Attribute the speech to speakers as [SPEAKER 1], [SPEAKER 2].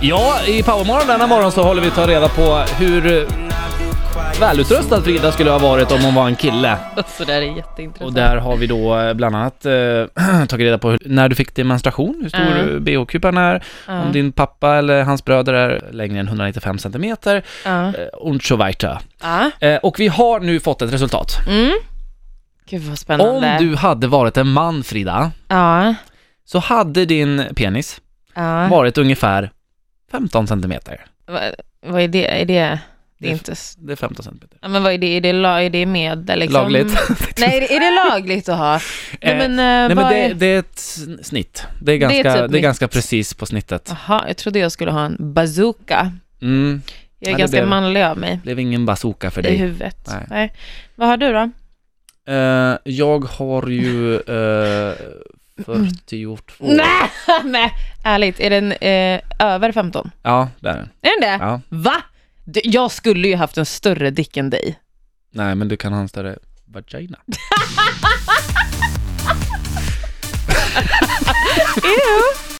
[SPEAKER 1] Ja, i Powermorgon denna morgon så håller vi ta reda på hur eh, välutrustad Frida skulle ha varit om hon var en kille.
[SPEAKER 2] Så Alltså, det här är jätteintressant.
[SPEAKER 1] Och där har vi då eh, bland annat eh, tagit reda på hur, när du fick din menstruation, hur stor
[SPEAKER 2] Ja.
[SPEAKER 1] bh-kupan är,
[SPEAKER 2] ja.
[SPEAKER 1] om din pappa eller hans bröder är längre än 195 centimeter
[SPEAKER 2] Ja.
[SPEAKER 1] eh, und so weiter.
[SPEAKER 2] ja.
[SPEAKER 1] Eh, och vi har nu fått ett resultat.
[SPEAKER 2] Mm. Gud vad spännande.
[SPEAKER 1] Om du hade varit en man, Frida,
[SPEAKER 2] Ja.
[SPEAKER 1] så hade din penis
[SPEAKER 2] ja.
[SPEAKER 1] varit ungefär 15 centimeter.
[SPEAKER 2] Va, vad är det? Är det, det
[SPEAKER 1] Det-
[SPEAKER 2] är inte... s-
[SPEAKER 1] Det är 15 centimeter.
[SPEAKER 2] Ja, men vad är det? Är det, la, är det med där liksom?
[SPEAKER 1] Lagligt.
[SPEAKER 2] Nej, är det, är det lagligt att ha? Nej,
[SPEAKER 1] Eh,
[SPEAKER 2] men, eh,
[SPEAKER 1] Nej men
[SPEAKER 2] vad
[SPEAKER 1] det,
[SPEAKER 2] är...
[SPEAKER 1] det är ett sn- snitt. Det är ganska, det är
[SPEAKER 2] typ mitt.
[SPEAKER 1] ganska precis på snittet.
[SPEAKER 2] Jaha, jag trodde jag skulle ha en bazooka.
[SPEAKER 1] Mm,
[SPEAKER 2] Jag är
[SPEAKER 1] Ja, det
[SPEAKER 2] ganska
[SPEAKER 1] blev-
[SPEAKER 2] manlig av mig
[SPEAKER 1] blev ingen bazooka för
[SPEAKER 2] i
[SPEAKER 1] dig.
[SPEAKER 2] huvudet.
[SPEAKER 1] Nej.
[SPEAKER 2] Nej. Vad har du då?
[SPEAKER 1] Eh, jag har ju eh, 42.
[SPEAKER 2] Mm. Nej, nej, ärligt, är den eh, över 15?
[SPEAKER 1] Ja, där.
[SPEAKER 2] Är den det?
[SPEAKER 1] Ja.
[SPEAKER 2] Va? Du, jag skulle ju haft en större dick än dig.
[SPEAKER 1] Nej men du kan ha en större vagina.